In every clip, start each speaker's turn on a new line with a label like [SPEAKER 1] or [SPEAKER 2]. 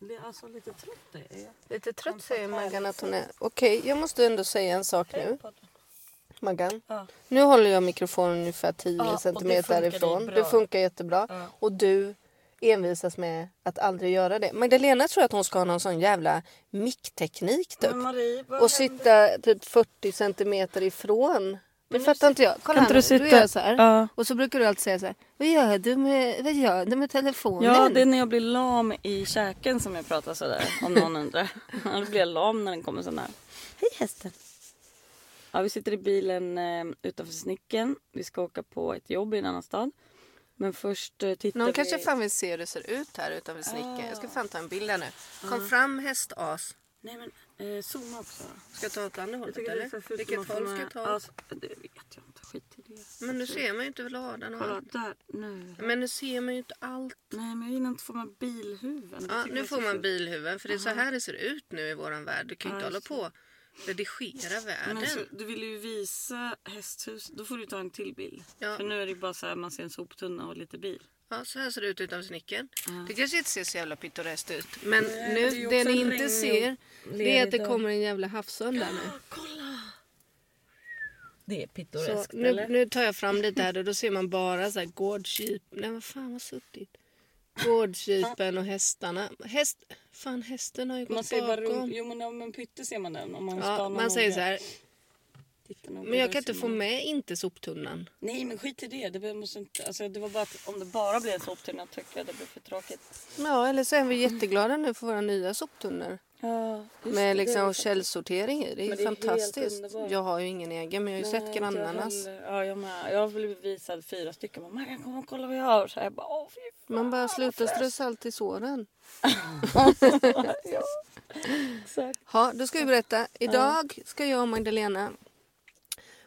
[SPEAKER 1] är alltså lite trött är jag.
[SPEAKER 2] Lite trött säger Maggan att hon är. Okej, jag måste ändå säga en sak nu. Maggan,
[SPEAKER 1] Ja.
[SPEAKER 2] nu håller jag mikrofonen ungefär 10
[SPEAKER 1] Ja, och det
[SPEAKER 2] centimeter
[SPEAKER 1] funkar
[SPEAKER 2] ifrån.
[SPEAKER 1] bra.
[SPEAKER 2] Det funkar jättebra.
[SPEAKER 1] Ja.
[SPEAKER 2] Och du envisas med att aldrig göra det. Magdalena tror att hon ska ha någon sån jävla mickteknik typ.
[SPEAKER 1] Men Marie, vad
[SPEAKER 2] Och
[SPEAKER 1] händer?
[SPEAKER 2] sitta typ 40 centimeter ifrån. Det
[SPEAKER 1] nu
[SPEAKER 2] fattar inte jag. Kolla
[SPEAKER 3] Kan
[SPEAKER 2] här
[SPEAKER 3] inte
[SPEAKER 2] nu,
[SPEAKER 3] du sitta...
[SPEAKER 2] gör jag så här.
[SPEAKER 3] Ja.
[SPEAKER 2] Och så brukar du alltid säga så här. Vad gör du med, vad gör du med telefonen?
[SPEAKER 1] Ja, det är när jag blir lam i käken som jag pratar sådär. Om någon undrar. Då blir jag lam när den kommer så nära. Hej hästen! Ja, vi sitter i bilen eh, utanför Snicken. Vi ska åka på ett jobb i en annan stad. Men först eh, tittar
[SPEAKER 2] Någon
[SPEAKER 1] vi...
[SPEAKER 2] kanske fan vill se hur det ser ut här utanför snickaren. Jag
[SPEAKER 1] Ah.
[SPEAKER 2] ska fan ta en bild här nu. Kom fram hästas.
[SPEAKER 1] Nej men eh, zooma också.
[SPEAKER 2] Ska jag ta åt andra
[SPEAKER 1] Jag
[SPEAKER 2] hållet
[SPEAKER 1] tycker det är för
[SPEAKER 2] eller?
[SPEAKER 1] fult.
[SPEAKER 2] Vilket
[SPEAKER 1] att man
[SPEAKER 2] håll
[SPEAKER 1] får med-
[SPEAKER 2] ska jag ta? åt?
[SPEAKER 1] Alltså, det vet jag inte. Skit i det.
[SPEAKER 2] Men nu ser man ju inte vad ladan
[SPEAKER 1] Kolla
[SPEAKER 2] har.
[SPEAKER 1] där. Nu.
[SPEAKER 2] Men nu ser man ju inte allt.
[SPEAKER 1] Nej men jag hinner inte få med bilhuven. Det
[SPEAKER 2] Ja,
[SPEAKER 1] tycker
[SPEAKER 2] nu
[SPEAKER 1] jag är
[SPEAKER 2] får
[SPEAKER 1] så
[SPEAKER 2] man
[SPEAKER 1] fult.
[SPEAKER 2] bilhuvuden för det är så här det ser ut nu i våran värld. Du kan ju inte
[SPEAKER 1] Ja,
[SPEAKER 2] hålla
[SPEAKER 1] just
[SPEAKER 2] på och redigera
[SPEAKER 1] Men så,
[SPEAKER 2] världen.
[SPEAKER 1] du vill ju visa hästhus. Då får du ta en till bild.
[SPEAKER 2] Ja.
[SPEAKER 1] För nu är det bara så här man ser en soptunna och lite bil.
[SPEAKER 2] Ja, så här ser det ut utanför snickaren. Det kanske inte ser så jävla pittoreskt ut. Men
[SPEAKER 1] Ah. det är
[SPEAKER 2] nu,
[SPEAKER 1] ju
[SPEAKER 2] det
[SPEAKER 1] också
[SPEAKER 2] ni
[SPEAKER 1] en
[SPEAKER 2] inte
[SPEAKER 1] regnig
[SPEAKER 2] ser
[SPEAKER 1] och
[SPEAKER 2] det är att
[SPEAKER 1] ledig
[SPEAKER 2] det
[SPEAKER 1] dag.
[SPEAKER 2] kommer en jävla havsörn där nu.
[SPEAKER 1] Det är
[SPEAKER 2] Så,
[SPEAKER 1] pittoreskt
[SPEAKER 2] nu, nu tar jag fram det där och då ser man bara så här gårdsdjup. Nej vad fan vad suttigt. Gårdsdjupen och hästarna. Häst, fan hästen har ju
[SPEAKER 1] Man
[SPEAKER 2] gått
[SPEAKER 1] ser bara rum.
[SPEAKER 2] bakom.
[SPEAKER 1] Jo men om en pytte ser man den. Om man
[SPEAKER 2] Ja,
[SPEAKER 1] spanar
[SPEAKER 2] man säger
[SPEAKER 1] noga.
[SPEAKER 2] så här.
[SPEAKER 1] Tittar noga,
[SPEAKER 2] Men jag
[SPEAKER 1] där
[SPEAKER 2] kan inte
[SPEAKER 1] ser
[SPEAKER 2] få
[SPEAKER 1] man.
[SPEAKER 2] med inte soptunnan.
[SPEAKER 1] Nej men skit i det. Det, behöver- måste inte... alltså, det var bara att om det bara blev en soptunna tycker jag det blir för tråkigt.
[SPEAKER 2] Ja eller så är vi jätteglada nu för våra nya soptunnor.
[SPEAKER 1] Ja,
[SPEAKER 2] Med liksom källsortering i. Det är, ju
[SPEAKER 1] Men det är helt
[SPEAKER 2] fantastiskt.
[SPEAKER 1] underbart.
[SPEAKER 2] Jag har ju ingen egen men jag har ju sett grannarnas.
[SPEAKER 1] Jag, ja, jag, med. jag har blivit visad fyra stycken. Man kan komma och kolla vad jag har. Så jag bara, åh, fy fan.
[SPEAKER 2] Man bara slutar strö salt i såren.
[SPEAKER 1] ja. Exakt.
[SPEAKER 2] Ja, då ska vi berätta. Idag ska jag och Magdalena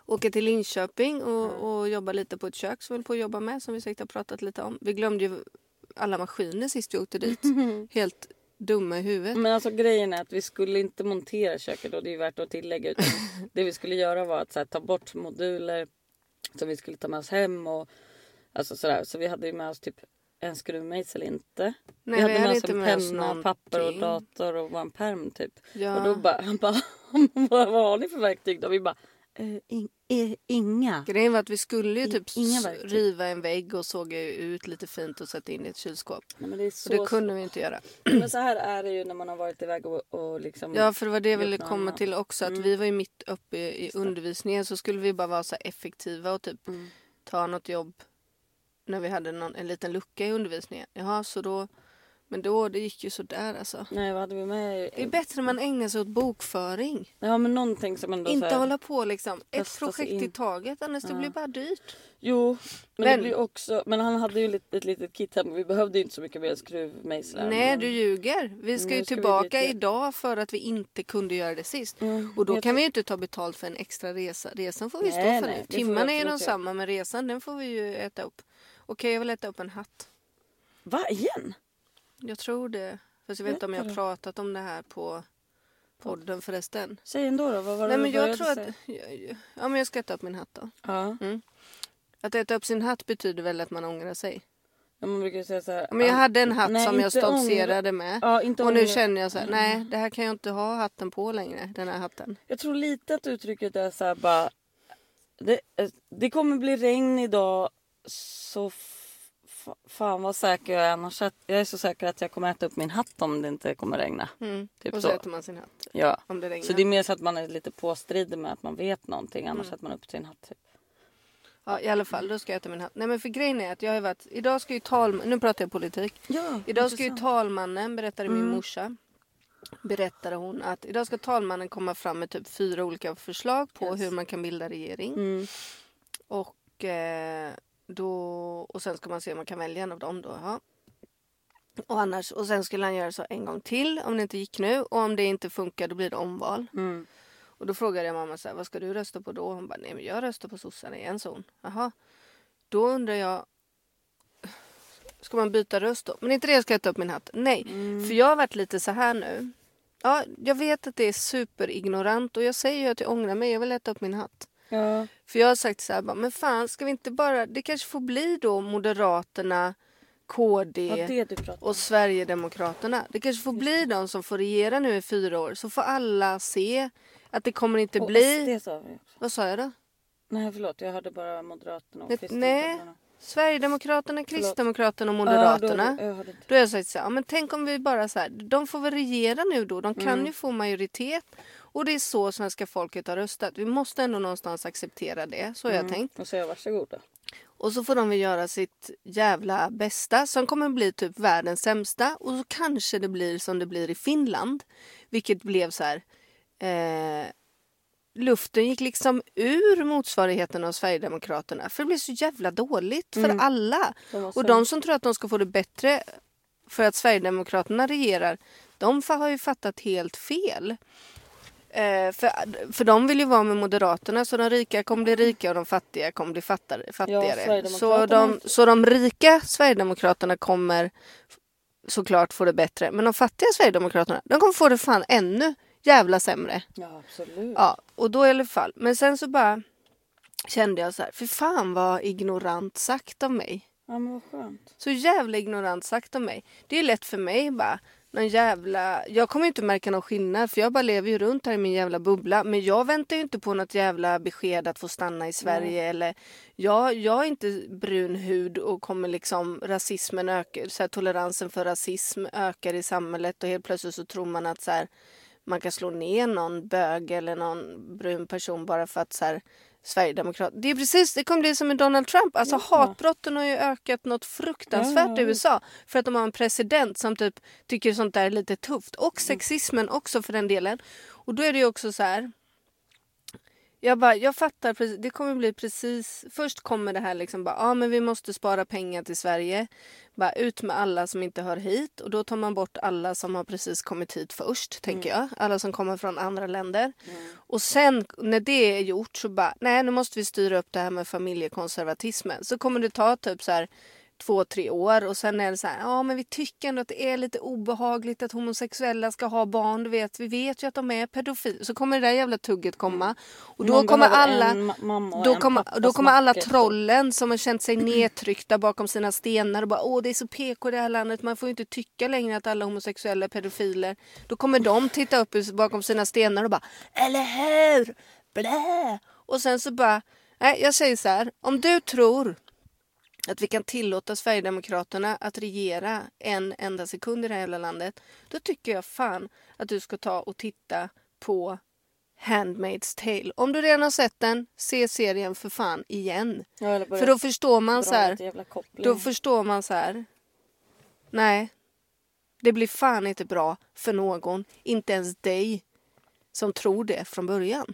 [SPEAKER 2] åka till Linköping
[SPEAKER 1] Mm.
[SPEAKER 2] och, och jobba lite på ett kök som vi höll på att jobba med som vi säkert har pratat lite om. Vi glömde ju alla maskiner sist vi åkte dit. Helt dumma i huvudet.
[SPEAKER 1] Men alltså grejen är att vi skulle inte montera köket då. Det är värt att tillägga. Utan det vi skulle göra var att så här, ta bort moduler som vi skulle ta med oss hem. Och, alltså, så, där. så vi hade ju med oss typ en skruvmejsel inte.
[SPEAKER 2] Nej, vi hade inte
[SPEAKER 1] en
[SPEAKER 2] med oss
[SPEAKER 1] penna, papper och
[SPEAKER 2] någonting.
[SPEAKER 1] dator och vår perm typ.
[SPEAKER 2] Ja.
[SPEAKER 1] Och då bara, han bara, vad, vad har ni för verktyg då? Vi bara, "Eh, ing- eh, inga.
[SPEAKER 2] Grejen var att vi skulle ju
[SPEAKER 1] I-
[SPEAKER 2] typ
[SPEAKER 1] inga
[SPEAKER 2] s-
[SPEAKER 1] verktyg.
[SPEAKER 2] riva en vägg och såga ut lite fint och sätta in i ett kylskåp.
[SPEAKER 1] Nej, men det är så,
[SPEAKER 2] Så det kunde vi inte göra.
[SPEAKER 1] Men så här är det ju när man har varit iväg och, och liksom...
[SPEAKER 2] Ja, för det var det jag
[SPEAKER 1] gjort
[SPEAKER 2] ville
[SPEAKER 1] något
[SPEAKER 2] komma
[SPEAKER 1] annat.
[SPEAKER 2] till också.
[SPEAKER 1] Mm.
[SPEAKER 2] Att vi var ju mitt uppe i, i undervisningen så skulle vi bara vara så här effektiva och typ
[SPEAKER 1] Mm.
[SPEAKER 2] ta något jobb när vi hade någon, en liten lucka i undervisningen. Jaha, så då... Men då, det gick ju sådär alltså.
[SPEAKER 1] Nej, vad hade vi med?
[SPEAKER 2] Det är bättre man ägnar sig åt bokföring.
[SPEAKER 1] Ja, men någonting som ändå...
[SPEAKER 2] Inte
[SPEAKER 1] så här,
[SPEAKER 2] hålla på liksom ett
[SPEAKER 1] Kasta sig in.
[SPEAKER 2] projekt i taget annars det blir bara dyrt.
[SPEAKER 1] Jo, men,
[SPEAKER 2] Men-
[SPEAKER 1] det blir ju också... Men han hade ju lite, ett litet kit hemma. Vi behövde ju inte så mycket mer skruvmejslar.
[SPEAKER 2] Nej,
[SPEAKER 1] men-
[SPEAKER 2] du ljuger. Vi ska
[SPEAKER 1] Nu ska
[SPEAKER 2] ju
[SPEAKER 1] vi
[SPEAKER 2] tillbaka
[SPEAKER 1] dit igen.
[SPEAKER 2] idag för att vi inte kunde göra det sist.
[SPEAKER 1] Mm,
[SPEAKER 2] Och då
[SPEAKER 1] jag
[SPEAKER 2] kan vi ju inte ta betalt för en extra resa. Resan får vi stå
[SPEAKER 1] Nej,
[SPEAKER 2] för
[SPEAKER 1] nej,
[SPEAKER 2] nu.
[SPEAKER 1] det får vi
[SPEAKER 2] Timmarna är
[SPEAKER 1] absolut
[SPEAKER 2] ju
[SPEAKER 1] göra.
[SPEAKER 2] de samma men resan den får vi ju äta upp. Okej, jag vill äta upp en hatt.
[SPEAKER 1] Va, igen?
[SPEAKER 2] Jag tror det. Fast jag vet inte om jag har pratat om det här på podden förresten.
[SPEAKER 1] Säg ändå då. Vad var det
[SPEAKER 2] Nej men
[SPEAKER 1] du
[SPEAKER 2] jag
[SPEAKER 1] började
[SPEAKER 2] tror att...
[SPEAKER 1] säga?
[SPEAKER 2] Ja men jag ska äta upp min hatt då.
[SPEAKER 1] Ja.
[SPEAKER 2] Att äta upp sin hatt betyder väl att man ångrar sig.
[SPEAKER 1] Ja, Man brukar ju säga så här...
[SPEAKER 2] Men jag
[SPEAKER 1] att-
[SPEAKER 2] hade en hatt
[SPEAKER 1] Nej,
[SPEAKER 2] som jag
[SPEAKER 1] inte ångra-
[SPEAKER 2] stoltserade med.
[SPEAKER 1] Ja, inte Mm.
[SPEAKER 2] och nu
[SPEAKER 1] ångra-
[SPEAKER 2] känner jag så här, nej det här kan jag inte ha hatten på längre. Den här hatten.
[SPEAKER 1] Jag tror lite att uttrycket är så här bara... Det, eh, det kommer bli regn idag så f- fa- fan vad säker jag är annars. Att, jag är så säker att jag kommer äta upp min hatt om det inte kommer regna. Typ
[SPEAKER 2] Mm.
[SPEAKER 1] så.
[SPEAKER 2] och så äter man sin hatt.
[SPEAKER 1] ja.
[SPEAKER 2] om det regnar.
[SPEAKER 1] Så det är mer så att man är lite påstridig med att man vet någonting annars
[SPEAKER 2] Mm.
[SPEAKER 1] sätter man upp sin hatt. Typ.
[SPEAKER 2] Ja, I alla fall, då ska jag äta min hatt. Nej men för grejen är att jag har varit... Idag ska ju talman... Nu pratar jag politik.
[SPEAKER 1] Ja,
[SPEAKER 2] Idag ska ju talmannen, berättade min morsa. Berättade hon att idag ska talmannen komma fram med typ fyra olika förslag på hur man kan bilda regering.
[SPEAKER 1] Mm.
[SPEAKER 2] Och, eh, då, och sen ska man se om man kan välja en av dem då. Ja. Och, annars, och sen skulle han göra så en gång till om det inte gick nu. Och om det inte funkar då blir det omval. Och då frågade jag mamma så här, vad ska du rösta på då? Hon bara, nej men jag röstar på sossarna igen, sa hon. Jaha. Då undrar jag, ska man byta röst då? Men inte det, jag ska äta upp min hatt. Nej, för jag har varit lite så här nu. Ja, jag vet att det är superignorant och jag säger ju att jag ångrar mig, jag vill äta upp min hatt.
[SPEAKER 1] Ja.
[SPEAKER 2] För jag har sagt så här, bara, men fan ska vi inte bara, det kanske får bli då Moderaterna, KD
[SPEAKER 1] Ja, det du pratar om.
[SPEAKER 2] och Sverigedemokraterna. Det kanske får bli de som får regera nu i fyra år så får alla se att det kommer inte
[SPEAKER 1] Och
[SPEAKER 2] bli...
[SPEAKER 1] SD sa vi också.
[SPEAKER 2] Vad sa jag då?
[SPEAKER 1] Nej förlåt, jag hörde bara Moderaterna och
[SPEAKER 2] Nej,
[SPEAKER 1] Kristdemokraterna.
[SPEAKER 2] Sverigedemokraterna, Kristdemokraterna och
[SPEAKER 1] Ja,
[SPEAKER 2] Moderaterna.
[SPEAKER 1] då- eh, jag hörde inte.
[SPEAKER 2] Då har jag sagt så här, ja, men tänk om vi bara så här, de får väl regera nu då, de kan
[SPEAKER 1] Mm.
[SPEAKER 2] ju få majoritet. Och det är så svenska folket har röstat. Vi måste ändå någonstans acceptera det, så har jag tänkt.
[SPEAKER 1] Och så jag varsågoda.
[SPEAKER 2] Och så får de väl göra sitt jävla bästa som kommer bli typ världens sämsta. Och så kanske det blir som det blir i Finland. Vilket blev så här... Eh, luften gick liksom ur motsvarigheten av Sverigedemokraterna. För det blev så jävla dåligt för alla.
[SPEAKER 1] De var så-
[SPEAKER 2] och de som tror att de ska få det bättre för att Sverigedemokraterna regerar, de fa- har ju fattat helt fel. Eh, för, för de vill ju vara med Moderaterna så de rika kommer bli rika och de fattiga kommer bli fattare, fattigare.
[SPEAKER 1] Sverigedemokraterna-
[SPEAKER 2] så, de, så de rika Sverigedemokraterna kommer f- såklart få det bättre. Men de fattiga Sverigedemokraterna, de kommer få det fan ännu jävla sämre.
[SPEAKER 1] Ja absolut.
[SPEAKER 2] Ja, och då i alla fall. Men sen så bara kände jag så här, för fan vad ignorant sagt av mig.
[SPEAKER 1] Ja men vad skönt.
[SPEAKER 2] Så jävla ignorant sagt om mig. Det är lätt för mig bara. Någon jävla... Jag kommer ju inte märka någon skillnad för jag bara lever ju runt här i min jävla bubbla. Men jag väntar ju inte på något jävla besked att få stanna i Sverige. Eller... Jag, jag är inte brun hud och kommer liksom rasismen öka. Så här, toleransen för rasism ökar i samhället och helt plötsligt så tror man att så här, man kan slå ner någon bög eller någon brun person bara för att så här, Sverigedemokrat. Det är precis, det kommer bli som med Donald Trump. Alltså hatbrotten har ju ökat något fruktansvärt i USA för att de har en president som typ tycker sånt där är lite tufft. Och sexismen också för den delen. Och då är det ju också så här. Jag bara, jag fattar precis. Det kommer bli precis. Först kommer det här liksom bara, ja ah, men vi måste spara pengar till Sverige. Bara ut med alla som inte hör hit och då tar man bort alla som har precis kommit hit först, tänker jag. Alla som kommer från andra länder. Och sen när det är gjort så bara, nej nu måste vi styra upp det här med familjekonservatismen. Så kommer det ta typ så här två, tre år och sen är det så här, ja men vi tycker ändå att det är lite obehagligt att homosexuella ska ha barn, du vet, vi vet ju att de är pedofil. Så kommer det där jävla tugget komma och då
[SPEAKER 1] Man
[SPEAKER 2] kommer
[SPEAKER 1] behöver
[SPEAKER 2] alla,
[SPEAKER 1] en ma- mamma och
[SPEAKER 2] då
[SPEAKER 1] en
[SPEAKER 2] kommer,
[SPEAKER 1] pappas
[SPEAKER 2] då kommer alla
[SPEAKER 1] makt efter.
[SPEAKER 2] trollen som har känt sig nedtryckta bakom sina stenar och bara åh det är så PK i det här landet, man får ju inte tycka längre att alla homosexuella är pedofiler. Då kommer de titta upp ur- bakom sina stenar och bara eller hur, blä! Och sen så bara, nej jag säger så här, om du tror att vi kan tillåta Sverigedemokraterna att regera en enda sekund i det här jävla landet. Då tycker jag fan att du ska ta och titta på Handmaid's Tale. Om du redan har sett den, se serien för fan igen.
[SPEAKER 1] Ja, eller
[SPEAKER 2] För då förstår man så här.
[SPEAKER 1] Jävla koppling.
[SPEAKER 2] Då förstår man så här. Nej, det blir fan inte bra för någon. Inte ens dig som tror det från början.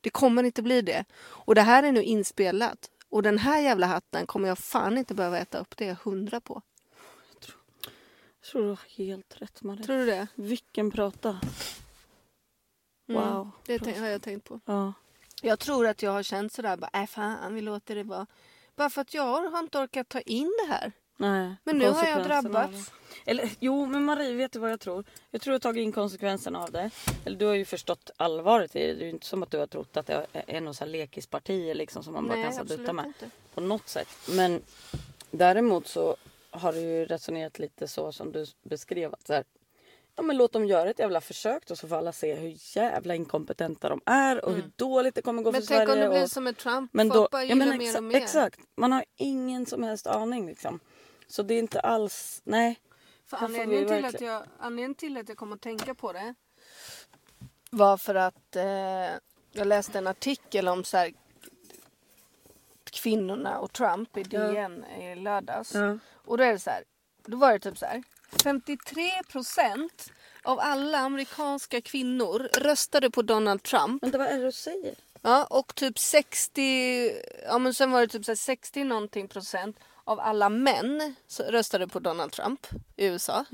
[SPEAKER 2] Det kommer inte bli det. Och det här är nu inspelat. Och den här jävla hatten kommer jag fan inte behöva äta upp. Det är jag hundra på.
[SPEAKER 1] Jag tror du har helt rätt Maria.
[SPEAKER 2] Tror du det?
[SPEAKER 1] Vilken prata.
[SPEAKER 2] Mm.
[SPEAKER 1] Wow.
[SPEAKER 2] Det tän- har jag tänkt på.
[SPEAKER 1] Ja.
[SPEAKER 2] Jag tror att jag har känt sådär bara, äh fan vi låter det vara. Bara för att jag har inte orkat ta in det här.
[SPEAKER 1] Nej,
[SPEAKER 2] Men nu har jag
[SPEAKER 1] konsekvenserna av
[SPEAKER 2] drabbats.
[SPEAKER 1] det. Eller, jo, men Marie, vet du vad jag tror? Jag tror du har tagit in konsekvenserna av det. Eller du har ju förstått allvaret i det. Det är ju inte som att du har trott att det är någon sån här lekisparti liksom, som man bara kan saduta med.
[SPEAKER 2] inte.
[SPEAKER 1] På något sätt. Men däremot så har du ju resonerat lite så som du beskrev. Att så här, ja, men låt dem göra ett jävla försök då så får alla se hur jävla inkompetenta de är och hur dåligt det kommer gå
[SPEAKER 2] Mm. Men
[SPEAKER 1] för
[SPEAKER 2] tänk
[SPEAKER 1] Sverige.
[SPEAKER 2] om det blir
[SPEAKER 1] och...
[SPEAKER 2] som med Trump.
[SPEAKER 1] Men då,
[SPEAKER 2] Folk bara
[SPEAKER 1] ja, men
[SPEAKER 2] gillar mer
[SPEAKER 1] exa-
[SPEAKER 2] och mer.
[SPEAKER 1] Exakt. Man har ingen som helst aning. Liksom. Så det är inte alls... Nej.
[SPEAKER 2] För
[SPEAKER 1] Då får vi
[SPEAKER 2] anledningen, till att
[SPEAKER 1] verkligen-
[SPEAKER 2] jag, anledningen till att jag kom att tänka på det var för att eh, jag läste en artikel om så här, kvinnorna och Trump i DN i lördags.
[SPEAKER 1] Ja.
[SPEAKER 2] Och då är det så här, då var det typ så här. 53 procent av alla amerikanska kvinnor röstade på Donald Trump.
[SPEAKER 1] Vänta, vad är det du säger?
[SPEAKER 2] Ja, och typ 60, ja men sen var det typ så här 60 någonting procent av alla män så röstade på Donald Trump i USA.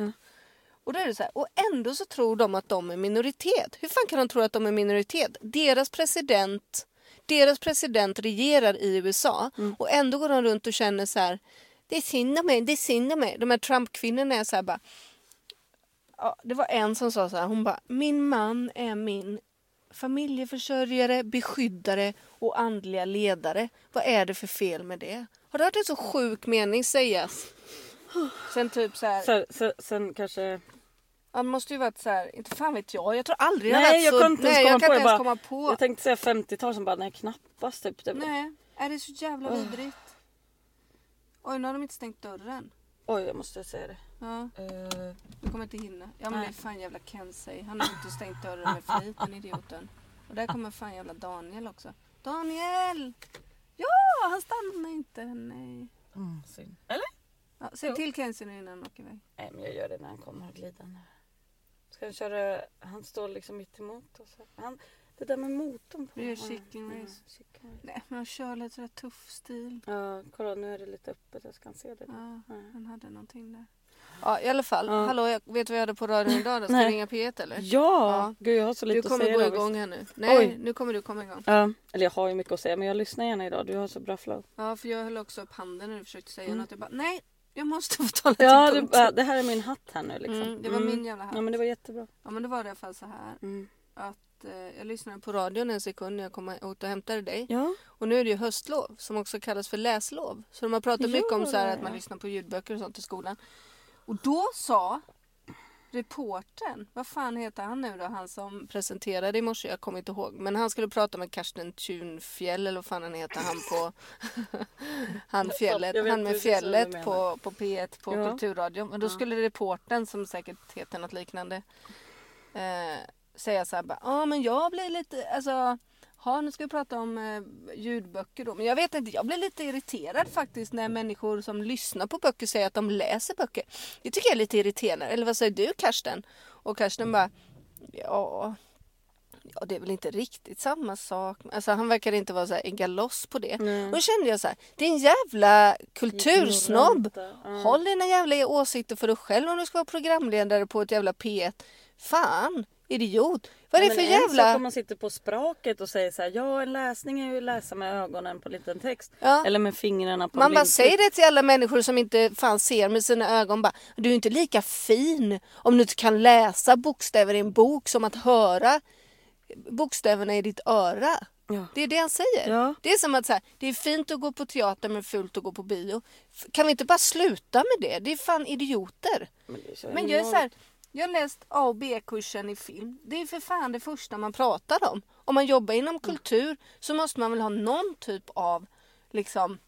[SPEAKER 2] Och då är det så här, och ändå så tror de att de är minoritet. Hur fan kan de tro att de är minoritet? Deras president, deras president regerar i USA och ändå går de runt och känner så här, det är synd om mig, det är synd om mig. De här Trump-kvinnorna är så här bara, ja, det var en som sa så här, hon bara, min man är min familjeförsörjare, beskyddare och andliga ledare. Vad är det för fel med det? Har du hört en så sjuk mening sägas? Sen typ så här,
[SPEAKER 1] Så, så, sen kanske...
[SPEAKER 2] han måste ju varit så här, inte fan vet jag, jag tror aldrig
[SPEAKER 1] Nej,
[SPEAKER 2] varit
[SPEAKER 1] jag
[SPEAKER 2] så,
[SPEAKER 1] kan inte ens
[SPEAKER 2] nej, jag
[SPEAKER 1] komma
[SPEAKER 2] kan
[SPEAKER 1] på
[SPEAKER 2] inte
[SPEAKER 1] det, bara-
[SPEAKER 2] ens komma på.
[SPEAKER 1] Jag tänkte säga 50-tal som bara nej knappast typ. Det bara,
[SPEAKER 2] Nej, är det är så jävla vidrigt. Oj, nu har de inte stängt dörren.
[SPEAKER 1] Oj jag måste säga det.
[SPEAKER 2] Ja,
[SPEAKER 1] Eh,
[SPEAKER 2] du kommer inte hinna. Ja men
[SPEAKER 1] Nej.
[SPEAKER 2] det är fan jävla Kensei. Han har inte stängt dörren med flit den idioten. Och där kommer fan jävla Daniel också. Daniel! Ja, han stannar inte. Nej.
[SPEAKER 1] mm, synd. Eller?
[SPEAKER 2] Ja, säg till Kenzie nu innan han åker iväg.
[SPEAKER 1] Nej men jag gör det när han kommer glidande. Ska jag köra, han står liksom mitt emot och så. Han, det där med motorn på
[SPEAKER 2] Vi gör
[SPEAKER 1] honom.
[SPEAKER 2] chicken
[SPEAKER 1] Mm,
[SPEAKER 2] race.
[SPEAKER 1] chicken race.
[SPEAKER 2] Nej, men han kör lite sådär tuff stil.
[SPEAKER 1] Ja kolla nu är det lite öppet, jag ska se det.
[SPEAKER 2] Ja,
[SPEAKER 1] Nej.
[SPEAKER 2] han hade någonting där. Ja, i alla fall.
[SPEAKER 1] Ja.
[SPEAKER 2] Hallå, jag vet du vad jag hade på radion idag då? Ska
[SPEAKER 1] Nej.
[SPEAKER 2] vi ringa P1 eller?
[SPEAKER 1] Ja!
[SPEAKER 2] Ja.
[SPEAKER 1] Gud jag har så
[SPEAKER 2] Du
[SPEAKER 1] lite att
[SPEAKER 2] kommer
[SPEAKER 1] säga
[SPEAKER 2] gå
[SPEAKER 1] idag, visst.
[SPEAKER 2] igång här nu. Nej,
[SPEAKER 1] Oj.
[SPEAKER 2] nu kommer du komma igång.
[SPEAKER 1] Ja, eller jag har ju mycket att säga men jag lyssnar gärna idag. Du har så bra flow.
[SPEAKER 2] Ja, för jag höll också upp handen när du försökte säga
[SPEAKER 1] Mm.
[SPEAKER 2] något. Jag bara, nej, jag måste få tala
[SPEAKER 1] Ja,
[SPEAKER 2] till
[SPEAKER 1] det,
[SPEAKER 2] punkt.
[SPEAKER 1] bara, det här är min hatt här nu liksom.
[SPEAKER 2] Mm, det var min jävla hatt.
[SPEAKER 1] Ja men det var jättebra.
[SPEAKER 2] Ja, men det var det i alla fall så här.
[SPEAKER 1] Mm.
[SPEAKER 2] Att, eh, jag lyssnade på radion en sekund när jag kom åt och hämtade dig.
[SPEAKER 1] Ja.
[SPEAKER 2] Och nu är det ju höstlov som också kallas för läslov. Så de har pratat
[SPEAKER 1] Ja,
[SPEAKER 2] mycket om så här
[SPEAKER 1] ja,
[SPEAKER 2] att man
[SPEAKER 1] ja.
[SPEAKER 2] lyssnar på ljudböcker och sånt i skolan. Och då sa reportern, vad fan heter han nu då, han som presenterade i morse, jag kommer inte ihåg. Men han skulle prata med Karsten Thunfjäll eller vad fan han heter, han på han,
[SPEAKER 1] Jag
[SPEAKER 2] fjället,
[SPEAKER 1] vet
[SPEAKER 2] han med
[SPEAKER 1] precis vem du
[SPEAKER 2] fjället
[SPEAKER 1] menar.
[SPEAKER 2] på, på P1 på
[SPEAKER 1] Ja.
[SPEAKER 2] Kulturradion. Men då
[SPEAKER 1] Ja.
[SPEAKER 2] skulle reportern som säkert heter något liknande eh, säga så här bara, ja men jag blir lite, alltså Ja, nu ska vi prata om eh, ljudböcker då. Men jag vet inte, jag blir lite irriterad faktiskt när människor som lyssnar på böcker säger att de läser böcker. Det tycker jag är lite irriterande. Eller vad säger du Karsten? Och Karsten bara, ja, ja det är väl inte riktigt samma sak. Alltså han verkar inte vara så här en galoss på det. Och då kände jag så här, din jävla kultursnobb.
[SPEAKER 1] Ignoranta.
[SPEAKER 2] Håll dina jävla åsikter för dig själv om du ska vara programledare på ett jävla P1. Fan, idiot. Vad är det
[SPEAKER 1] Men
[SPEAKER 2] för
[SPEAKER 1] en sak
[SPEAKER 2] jävla...
[SPEAKER 1] om man sitter på språket och säger så här, ja en läsning är ju att läsa med ögonen på liten text.
[SPEAKER 2] Ja.
[SPEAKER 1] Eller med fingrarna på
[SPEAKER 2] Man bara
[SPEAKER 1] blindskrift.
[SPEAKER 2] säger det till alla människor som inte fan ser med sina ögon. Bara, du är inte lika fin om du inte kan läsa bokstäver i en bok som att höra bokstäverna i ditt öra.
[SPEAKER 1] Ja.
[SPEAKER 2] Det är det han säger.
[SPEAKER 1] Ja.
[SPEAKER 2] Det är som att så här, det är fint att gå på teater men fult att gå på bio. F- Kan vi inte bara sluta med det? Det är fan idioter.
[SPEAKER 1] Men, det är så
[SPEAKER 2] Men jag är
[SPEAKER 1] enormt.
[SPEAKER 2] så här, jag har läst A och B-kursen i film. Det är för fan det första man pratar om. Om man jobbar
[SPEAKER 1] Mm.
[SPEAKER 2] inom kultur så måste man väl ha någon typ av liksom,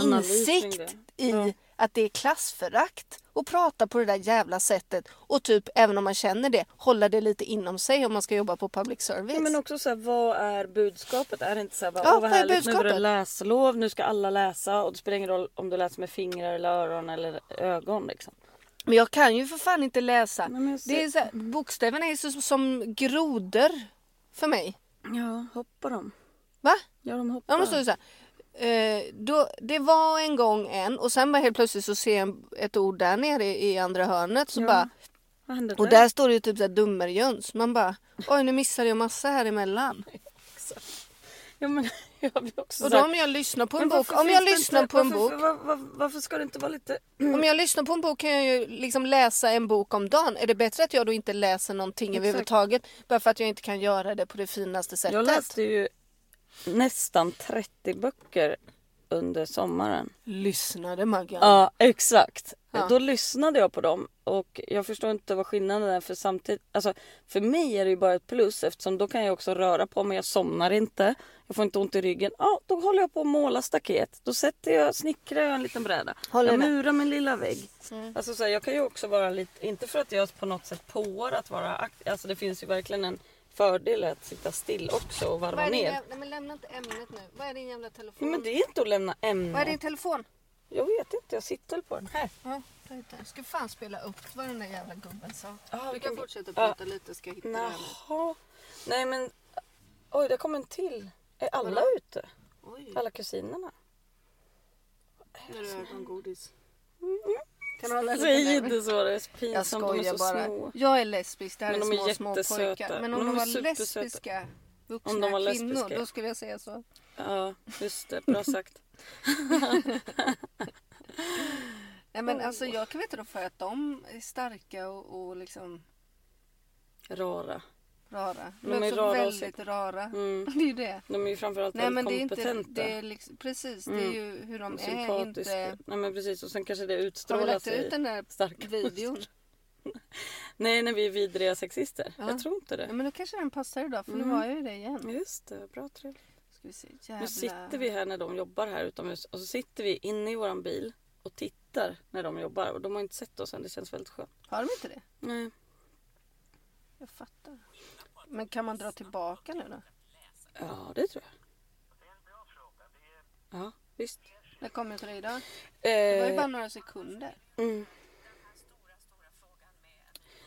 [SPEAKER 1] Analys kring
[SPEAKER 2] insikt
[SPEAKER 1] det.
[SPEAKER 2] i
[SPEAKER 1] Ja.
[SPEAKER 2] att det är klassförakt och prata på det där jävla sättet och typ även om man känner det hålla det lite inom sig om man ska jobba på public service.
[SPEAKER 1] Ja, Men också så här, vad är budskapet? Är det inte så här, bara,
[SPEAKER 2] Ja,
[SPEAKER 1] åh
[SPEAKER 2] vad
[SPEAKER 1] vad
[SPEAKER 2] är
[SPEAKER 1] härligt, nu är det
[SPEAKER 2] budskapet?
[SPEAKER 1] läslov, nu ska alla läsa och det spelar ingen roll om du läser med fingrar eller öron eller ögon liksom.
[SPEAKER 2] Men jag kan ju för fan inte läsa.
[SPEAKER 1] Nej, men jag ser-
[SPEAKER 2] det är så här, bokstäverna är så, som grodor för mig.
[SPEAKER 1] Ja, hoppar de?
[SPEAKER 2] Va?
[SPEAKER 1] Ja, de hoppar.
[SPEAKER 2] Ja men så är det så här. Eh, då, det var en gång en och sen bara helt plötsligt så ser jag en- ett ord där nere i i andra hörnet. Så
[SPEAKER 1] Ja.
[SPEAKER 2] bara,
[SPEAKER 1] Vad händer
[SPEAKER 2] och där står det ju typ såhär dummerjöns. Man bara oj nu missade jag massa här emellan.
[SPEAKER 1] Ja, men, jag blir också
[SPEAKER 2] Och
[SPEAKER 1] så
[SPEAKER 2] då
[SPEAKER 1] här,
[SPEAKER 2] om jag lyssnar på en
[SPEAKER 1] men
[SPEAKER 2] bok.
[SPEAKER 1] varför
[SPEAKER 2] Om jag
[SPEAKER 1] finns det
[SPEAKER 2] lyssnar
[SPEAKER 1] inte-
[SPEAKER 2] på en bok.
[SPEAKER 1] varför, var, var, varför ska det inte vara lite...
[SPEAKER 2] Om jag lyssnar på en bok kan jag ju liksom läsa en bok om dagen. Är det bättre att jag då inte läser någonting överhuvudtaget? Bara för att jag inte kan göra det på det finaste sättet.
[SPEAKER 1] Jag läste ju nästan 30 böcker under sommaren.
[SPEAKER 2] Lyssnade Maggan.
[SPEAKER 1] Ja, exakt.
[SPEAKER 2] Ja.
[SPEAKER 1] Då lyssnade jag på dem och jag förstår inte vad skillnaden är för samtidigt. Alltså, för mig är det ju bara ett plus eftersom då kan jag också röra på mig. Jag somnar inte. Jag får inte ont i ryggen. Ja, då håller jag på att måla staket. Då sätter jag, snickrar jag en liten bräda.
[SPEAKER 2] Håller Mm.
[SPEAKER 1] jag
[SPEAKER 2] det.
[SPEAKER 1] murar min lilla vägg. Alltså, så här, jag kan ju också vara lite, inte för att jag på något sätt påar att vara aktiv. Alltså det finns ju verkligen en fördel att sitta still också och varva
[SPEAKER 2] Vad är din
[SPEAKER 1] ner.
[SPEAKER 2] jävla... Nej men lämna inte ämnet nu. Vad är din jävla telefon?
[SPEAKER 1] Nej, men det är inte att lämna
[SPEAKER 2] Vad är din
[SPEAKER 1] ämnen.
[SPEAKER 2] telefon?
[SPEAKER 1] Jag vet inte, jag sitter väl på den här.
[SPEAKER 2] Ja, ta hit den. Jag ska fan spela upp vad den där jävla gubben sa.
[SPEAKER 1] Ja,
[SPEAKER 2] du
[SPEAKER 1] vilken
[SPEAKER 2] kan
[SPEAKER 1] gub-
[SPEAKER 2] fortsätta
[SPEAKER 1] Ja.
[SPEAKER 2] prata lite ska jag hitta det här.
[SPEAKER 1] Jaha. Nej men. Oj, där kom en till. Är alla ute?
[SPEAKER 2] Oj,
[SPEAKER 1] Alla kusinerna?
[SPEAKER 2] nu är det ögongodis. Kan du hålla
[SPEAKER 1] Säg
[SPEAKER 2] lite där?
[SPEAKER 1] inte så, det är så
[SPEAKER 2] Jag
[SPEAKER 1] pinsamt. De är
[SPEAKER 2] skojar
[SPEAKER 1] så
[SPEAKER 2] bara.
[SPEAKER 1] små.
[SPEAKER 2] Jag är lesbisk, det här
[SPEAKER 1] Men
[SPEAKER 2] är,
[SPEAKER 1] de är
[SPEAKER 2] små små
[SPEAKER 1] jättesöta.
[SPEAKER 2] pojkar. Men
[SPEAKER 1] Men
[SPEAKER 2] om de,
[SPEAKER 1] de är
[SPEAKER 2] var
[SPEAKER 1] supersöta.
[SPEAKER 2] lesbiska vuxna
[SPEAKER 1] Om de var
[SPEAKER 2] kvinnor
[SPEAKER 1] lesbiska.
[SPEAKER 2] då skulle jag säga så.
[SPEAKER 1] Ja, just det. Bra sagt.
[SPEAKER 2] Nej men alltså jag kan veta då för att de är starka och, och liksom
[SPEAKER 1] Rara.
[SPEAKER 2] Rara.
[SPEAKER 1] De
[SPEAKER 2] De är
[SPEAKER 1] är
[SPEAKER 2] också
[SPEAKER 1] rara och
[SPEAKER 2] väldigt
[SPEAKER 1] sex-
[SPEAKER 2] rara.
[SPEAKER 1] Mm.
[SPEAKER 2] Det är ju det.
[SPEAKER 1] De är ju framförallt
[SPEAKER 2] Nej men det är
[SPEAKER 1] väldigt
[SPEAKER 2] inte,
[SPEAKER 1] kompetenta.
[SPEAKER 2] det är liksom, precis det
[SPEAKER 1] Mm.
[SPEAKER 2] är ju hur de
[SPEAKER 1] och
[SPEAKER 2] är.
[SPEAKER 1] sympatiska.
[SPEAKER 2] Inte,
[SPEAKER 1] Nej men precis och sen kanske det
[SPEAKER 2] har vi
[SPEAKER 1] utstrålar
[SPEAKER 2] lagt
[SPEAKER 1] sig
[SPEAKER 2] ut den där
[SPEAKER 1] starka
[SPEAKER 2] videon?
[SPEAKER 1] Nej när vi är vidriga sexister.
[SPEAKER 2] Ja.
[SPEAKER 1] Jag tror inte
[SPEAKER 2] Ja
[SPEAKER 1] det.
[SPEAKER 2] men då kanske den passar idag för nu
[SPEAKER 1] Mm.
[SPEAKER 2] var jag ju det igen.
[SPEAKER 1] Just det, bra trevligt.
[SPEAKER 2] Ska vi se. Jävla...
[SPEAKER 1] Nu sitter vi här när de jobbar här utomhus och så sitter vi inne i våran bil och tittar när de jobbar och de har inte sett oss än. Det känns väldigt skönt.
[SPEAKER 2] Har de inte det?
[SPEAKER 1] Nej.
[SPEAKER 2] Jag fattar. Men kan man dra tillbaka nu då?
[SPEAKER 1] Ja, det tror jag. Ja, visst.
[SPEAKER 2] När kom jag till dig idag? Det var ju bara
[SPEAKER 1] Eh,
[SPEAKER 2] några sekunder.
[SPEAKER 1] mm.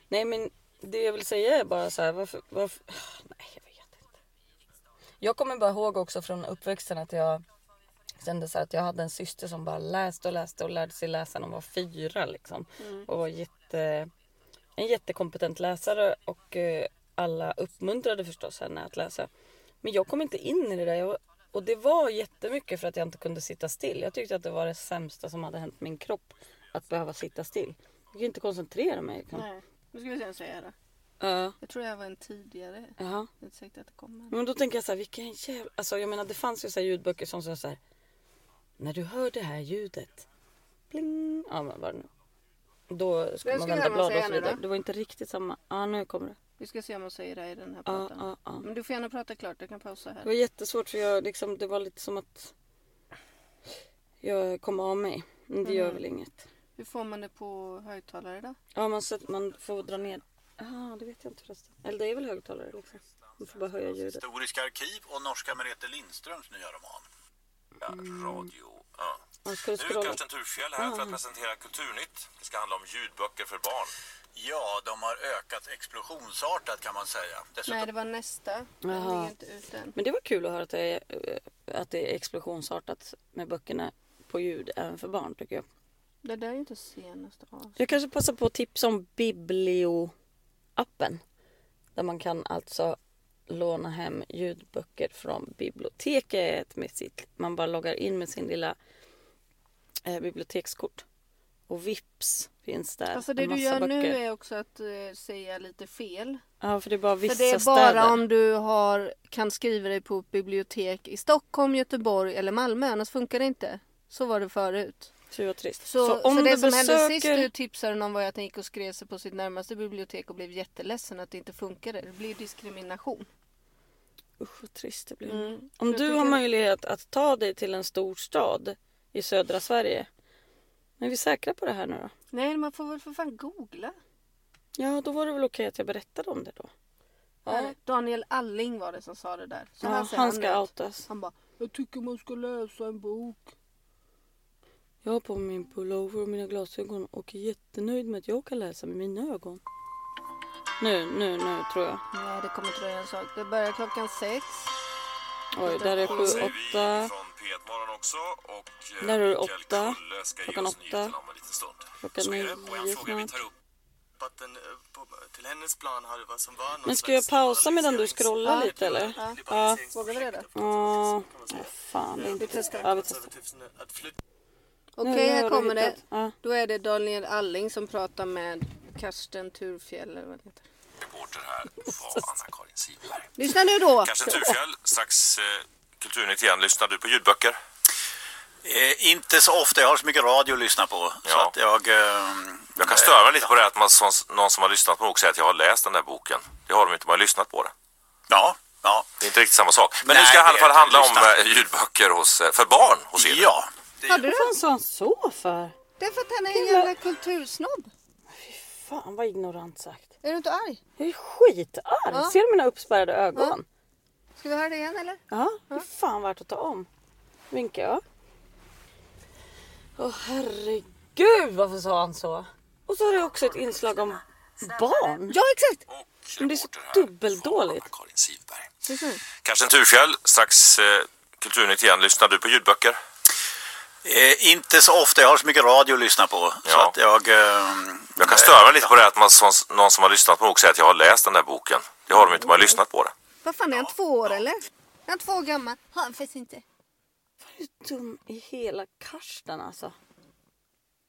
[SPEAKER 1] Nej, men det jag vill säga är bara så här, varför, varför... ah, Nej, jag vet inte. Jag kommer bara ihåg också från uppväxten att jag kände så här att jag hade en syster som bara läste och läste och lärde sig läsa när hon var fyra liksom. Och var jätte, en jättekompetent läsare och eh, alla uppmuntrade förstås henne att läsa. Men jag kom inte in i det där. Jag, och det var jättemycket för att jag inte kunde sitta still. Jag tyckte att det var det sämsta som hade hänt min kropp. Att behöva sitta still. Jag kunde inte koncentrera mig. Liksom.
[SPEAKER 2] Nej. Nu ska vi se om jag säger det.
[SPEAKER 1] Ja,
[SPEAKER 2] Jag tror jag var en tidigare.
[SPEAKER 1] jaha.
[SPEAKER 2] Det är inte säkert att det kommer.
[SPEAKER 1] Men då tänker jag så här, vilken jävla... Alltså jag menar det fanns ju så här ljudböcker som sa så här. När du hör det här ljudet. Pling. Ja men vad det nu Då skulle
[SPEAKER 2] Vem
[SPEAKER 1] man
[SPEAKER 2] skulle
[SPEAKER 1] vända
[SPEAKER 2] man
[SPEAKER 1] blad och
[SPEAKER 2] säga
[SPEAKER 1] så
[SPEAKER 2] nu
[SPEAKER 1] vidare.
[SPEAKER 2] då?
[SPEAKER 1] Det var inte riktigt samma. Ja nu kommer det.
[SPEAKER 2] Vi ska se om jag säger det i den här
[SPEAKER 1] Ja,
[SPEAKER 2] podden.
[SPEAKER 1] ja, ja.
[SPEAKER 2] Men du får gärna prata klart. Jag kan pausa
[SPEAKER 1] Det
[SPEAKER 2] här.
[SPEAKER 1] var jättesvårt för jag liksom, det var lite som att jag kom av mig. Men det gör
[SPEAKER 2] Mhm.
[SPEAKER 1] väl inget.
[SPEAKER 2] Hur får man det på högtalare då?
[SPEAKER 1] Ja man, så att man får dra ner. Ja det vet jag inte förresten. Eller det är väl högtalare liksom. Man får bara höja ljudet.
[SPEAKER 3] Historiska arkiv och norska Merete Lindströms nya roman. Ja,
[SPEAKER 4] Mm.
[SPEAKER 3] radio. Ja.
[SPEAKER 1] Man skulle
[SPEAKER 5] Nu är
[SPEAKER 1] scrolla.
[SPEAKER 5] Karsten Thurfjell här
[SPEAKER 1] Mm.
[SPEAKER 5] för att presentera Kulturnytt. Det ska handla om ljudböcker för barn.
[SPEAKER 3] Ja, de har ökat explosionsartat kan man säga. Dessutom
[SPEAKER 2] Nej, det var nästa. Den
[SPEAKER 1] Jaha.
[SPEAKER 2] ligger inte ut än.
[SPEAKER 1] Men det var kul att höra att det är, eh, att det är explosionsartat med böckerna på ljud även för barn tycker jag.
[SPEAKER 2] Det där är ju inte senaste avsnittet.
[SPEAKER 1] Jag kanske passar på att tipsa om biblioappen. Där man kan alltså låna hem ljudböcker från biblioteket. Med sitt, man bara loggar in med sin lilla eh, bibliotekskort. Och vips finns där
[SPEAKER 2] Alltså det
[SPEAKER 1] en
[SPEAKER 2] du
[SPEAKER 1] massa
[SPEAKER 2] gör
[SPEAKER 1] böcker.
[SPEAKER 2] nu är också att eh, säga lite fel.
[SPEAKER 1] Ja, för det är bara vissa
[SPEAKER 2] För det är bara
[SPEAKER 1] städer.
[SPEAKER 2] om du har, kan skriva dig på ett bibliotek i Stockholm, Göteborg eller Malmö. Annars funkar det inte. Så var det förut.
[SPEAKER 1] Så vad trist.
[SPEAKER 2] Så, så,
[SPEAKER 1] om
[SPEAKER 2] det
[SPEAKER 1] du
[SPEAKER 2] som hände sist
[SPEAKER 1] besöker-
[SPEAKER 2] du tipsade någon var ju att den gick och skrev sig på sitt närmaste bibliotek och blev jätteledsen att det inte funkade. Det blir diskrimination.
[SPEAKER 1] Usch vad trist det blir.
[SPEAKER 2] Mm.
[SPEAKER 1] Om
[SPEAKER 2] Jag
[SPEAKER 1] du
[SPEAKER 2] tycker-
[SPEAKER 1] har möjlighet att ta dig till en stor stad i södra Sverige. Men är vi säkra på det här nu då?
[SPEAKER 2] Nej, man får väl för fan googla.
[SPEAKER 1] Ja, då var det väl okej att jag berättade om det då. Ja.
[SPEAKER 2] Daniel Alling var det som sa det där. Så
[SPEAKER 1] Ja,
[SPEAKER 2] här säger
[SPEAKER 1] han ska
[SPEAKER 2] det.
[SPEAKER 1] outas.
[SPEAKER 2] Han bara, jag tycker man ska läsa en bok.
[SPEAKER 1] Jag har på mig min pullover och mina glasögon och är jättenöjd med att jag kan läsa med mina ögon. Nu, nu, nu tror jag.
[SPEAKER 2] Nej, det kommer dröja en sak. Det börjar klockan sex.
[SPEAKER 1] Oj, där är
[SPEAKER 5] Det säger
[SPEAKER 1] sju,
[SPEAKER 5] vi
[SPEAKER 1] åtta.
[SPEAKER 5] från P1-morgon också. Och eh,
[SPEAKER 1] Där är det
[SPEAKER 5] Mikael
[SPEAKER 1] åtta.
[SPEAKER 5] Kulle ska ge
[SPEAKER 1] Klockan
[SPEAKER 5] oss
[SPEAKER 1] åtta.
[SPEAKER 5] nyheterna om en liten stund.
[SPEAKER 1] Klockan
[SPEAKER 5] Så är
[SPEAKER 1] nio
[SPEAKER 5] det. Och en fråga vi
[SPEAKER 1] snart.
[SPEAKER 5] tar upp.
[SPEAKER 4] att den, eh, på, till hennes plan hade vad som var någon
[SPEAKER 1] Men ska jag
[SPEAKER 4] slags
[SPEAKER 1] pausa medan du
[SPEAKER 4] liberaliserings-
[SPEAKER 1] scrollar lite eller?
[SPEAKER 2] Ja.
[SPEAKER 1] Ja.
[SPEAKER 2] Vågar vi det då?
[SPEAKER 1] Ja. Åh, fan, det är inte... Ja, vi testar.
[SPEAKER 4] Konservatism, Att flytta
[SPEAKER 2] Okej,
[SPEAKER 1] Nu har
[SPEAKER 2] här
[SPEAKER 1] du
[SPEAKER 2] kommer det.
[SPEAKER 1] hittat. Ja.
[SPEAKER 2] Då är det Daniel Alling som pratar med Karsten Thurfjell eller vad det heter.
[SPEAKER 5] Reporter här var Anna-Karin Sidberg.
[SPEAKER 2] Lyssna nu då!
[SPEAKER 5] Karsten Thurfjell, strax eh, Kulturnytt igen. Lyssnar du på ljudböcker?
[SPEAKER 3] Eh, inte så ofta, jag har så mycket radio att lyssna på. Så
[SPEAKER 5] Ja.
[SPEAKER 3] att jag... ehm,
[SPEAKER 5] Jag kan störa mig lite på det att man, som, någon som har lyssnat på en bok säger att jag har läst den där boken. Det har de inte, man har lyssnat på det.
[SPEAKER 3] Ja, ja.
[SPEAKER 5] Det är inte riktigt samma sak. Men nu
[SPEAKER 3] Nej,
[SPEAKER 5] ska det i alla
[SPEAKER 3] det
[SPEAKER 5] fall
[SPEAKER 3] är-
[SPEAKER 5] handla om
[SPEAKER 3] lyssna.
[SPEAKER 5] eh, ljudböcker hos, eh, för barn hos er.
[SPEAKER 3] Ja,
[SPEAKER 2] Hörde du det?
[SPEAKER 1] Vad fan sa han så för?
[SPEAKER 2] Det är för att han är en jävla kultursnobb.
[SPEAKER 1] Fan vad ignorant sagt.
[SPEAKER 2] Är du inte arg?
[SPEAKER 1] Jag är skitarg.
[SPEAKER 2] Ja.
[SPEAKER 1] Ser du mina uppspärrade ögon?
[SPEAKER 2] Ja. Ska vi höra det igen eller?
[SPEAKER 1] Ja, det är fan värt att ta om. Vinkar jag. Åh herregud, varför sa han så? Och så har det också ett inslag om barn.
[SPEAKER 2] Ja, exakt!
[SPEAKER 5] Och
[SPEAKER 1] Men det är så
[SPEAKER 5] reporter här
[SPEAKER 1] dubbeldåligt.
[SPEAKER 5] var Anna-Karin Sidberg.
[SPEAKER 2] Lyssna nu.
[SPEAKER 5] Karsten Thurfjell, strax eh, Kulturnytt igen. Lyssnar du på ljudböcker?
[SPEAKER 3] eh, inte så ofta, jag har så mycket radio att lyssna på. Så
[SPEAKER 5] Ja.
[SPEAKER 3] att jag... ehm,
[SPEAKER 5] Jag kan
[SPEAKER 3] eh,
[SPEAKER 5] störa mig lite på det att man, som, någon som har lyssnat på en bok säger att jag har läst den där boken. Det har de inte, man har lyssnat på det.
[SPEAKER 2] Vad fan, är han två år eller? Är han två år gammal? Har han faktiskt inte.
[SPEAKER 1] Hur dum i hela Karsten alltså?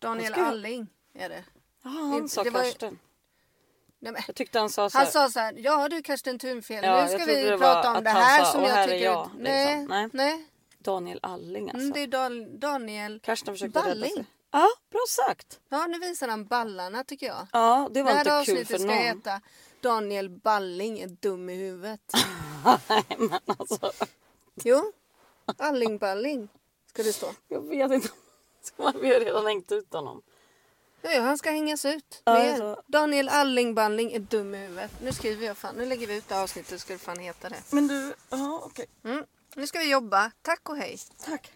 [SPEAKER 2] Daniel
[SPEAKER 1] Ska jag-
[SPEAKER 2] Alling är det.
[SPEAKER 1] Ja, han
[SPEAKER 2] Det-
[SPEAKER 1] sa
[SPEAKER 2] det var ju-
[SPEAKER 1] Karsten.
[SPEAKER 2] Nej, men.
[SPEAKER 1] Jag tyckte han sa så här.
[SPEAKER 2] Han sa så här, ja du Karsten Thunfjell,
[SPEAKER 1] Ja,
[SPEAKER 2] nu
[SPEAKER 1] jag
[SPEAKER 2] ska
[SPEAKER 1] trodde
[SPEAKER 2] vi
[SPEAKER 1] det
[SPEAKER 2] prata
[SPEAKER 1] var
[SPEAKER 2] om
[SPEAKER 1] att
[SPEAKER 2] det
[SPEAKER 1] han
[SPEAKER 2] här
[SPEAKER 1] sa,
[SPEAKER 2] som
[SPEAKER 1] "Och här
[SPEAKER 2] jag
[SPEAKER 1] är
[SPEAKER 2] tycker...
[SPEAKER 1] jag", liksom.
[SPEAKER 2] nej,
[SPEAKER 1] Nej.
[SPEAKER 2] nej.
[SPEAKER 1] Daniel Alling alltså.
[SPEAKER 2] Mm, det är Dan- Daniel.
[SPEAKER 1] Karsten försökte rädda
[SPEAKER 2] Balling.
[SPEAKER 1] sig. Ja, bra sagt.
[SPEAKER 2] Ja, nu visar han ballarna tycker jag.
[SPEAKER 1] Ja, det
[SPEAKER 2] Det
[SPEAKER 1] var
[SPEAKER 2] här
[SPEAKER 1] inte kul
[SPEAKER 2] avsnittet
[SPEAKER 1] för
[SPEAKER 2] ska
[SPEAKER 1] någon.
[SPEAKER 2] heta Daniel Balling är dum i huvudet.
[SPEAKER 1] Nej, men alltså.
[SPEAKER 2] jo, Alling Balling ska det stå.
[SPEAKER 1] Jag vet inte. Ska man- Vi har redan hängt ut honom.
[SPEAKER 2] Ja, ja, han ska hängas ut.
[SPEAKER 1] Ja, alltså.
[SPEAKER 2] Mer.
[SPEAKER 1] jag tror-
[SPEAKER 2] Daniel Alling Balling är dum i huvudet. Nu skriver jag fan, nu lägger vi ut det här avsnittet ska det fan heta det.
[SPEAKER 1] Men du, ja okej.
[SPEAKER 2] Mm. Nu ska vi jobba. Tack och hej.
[SPEAKER 1] Tack.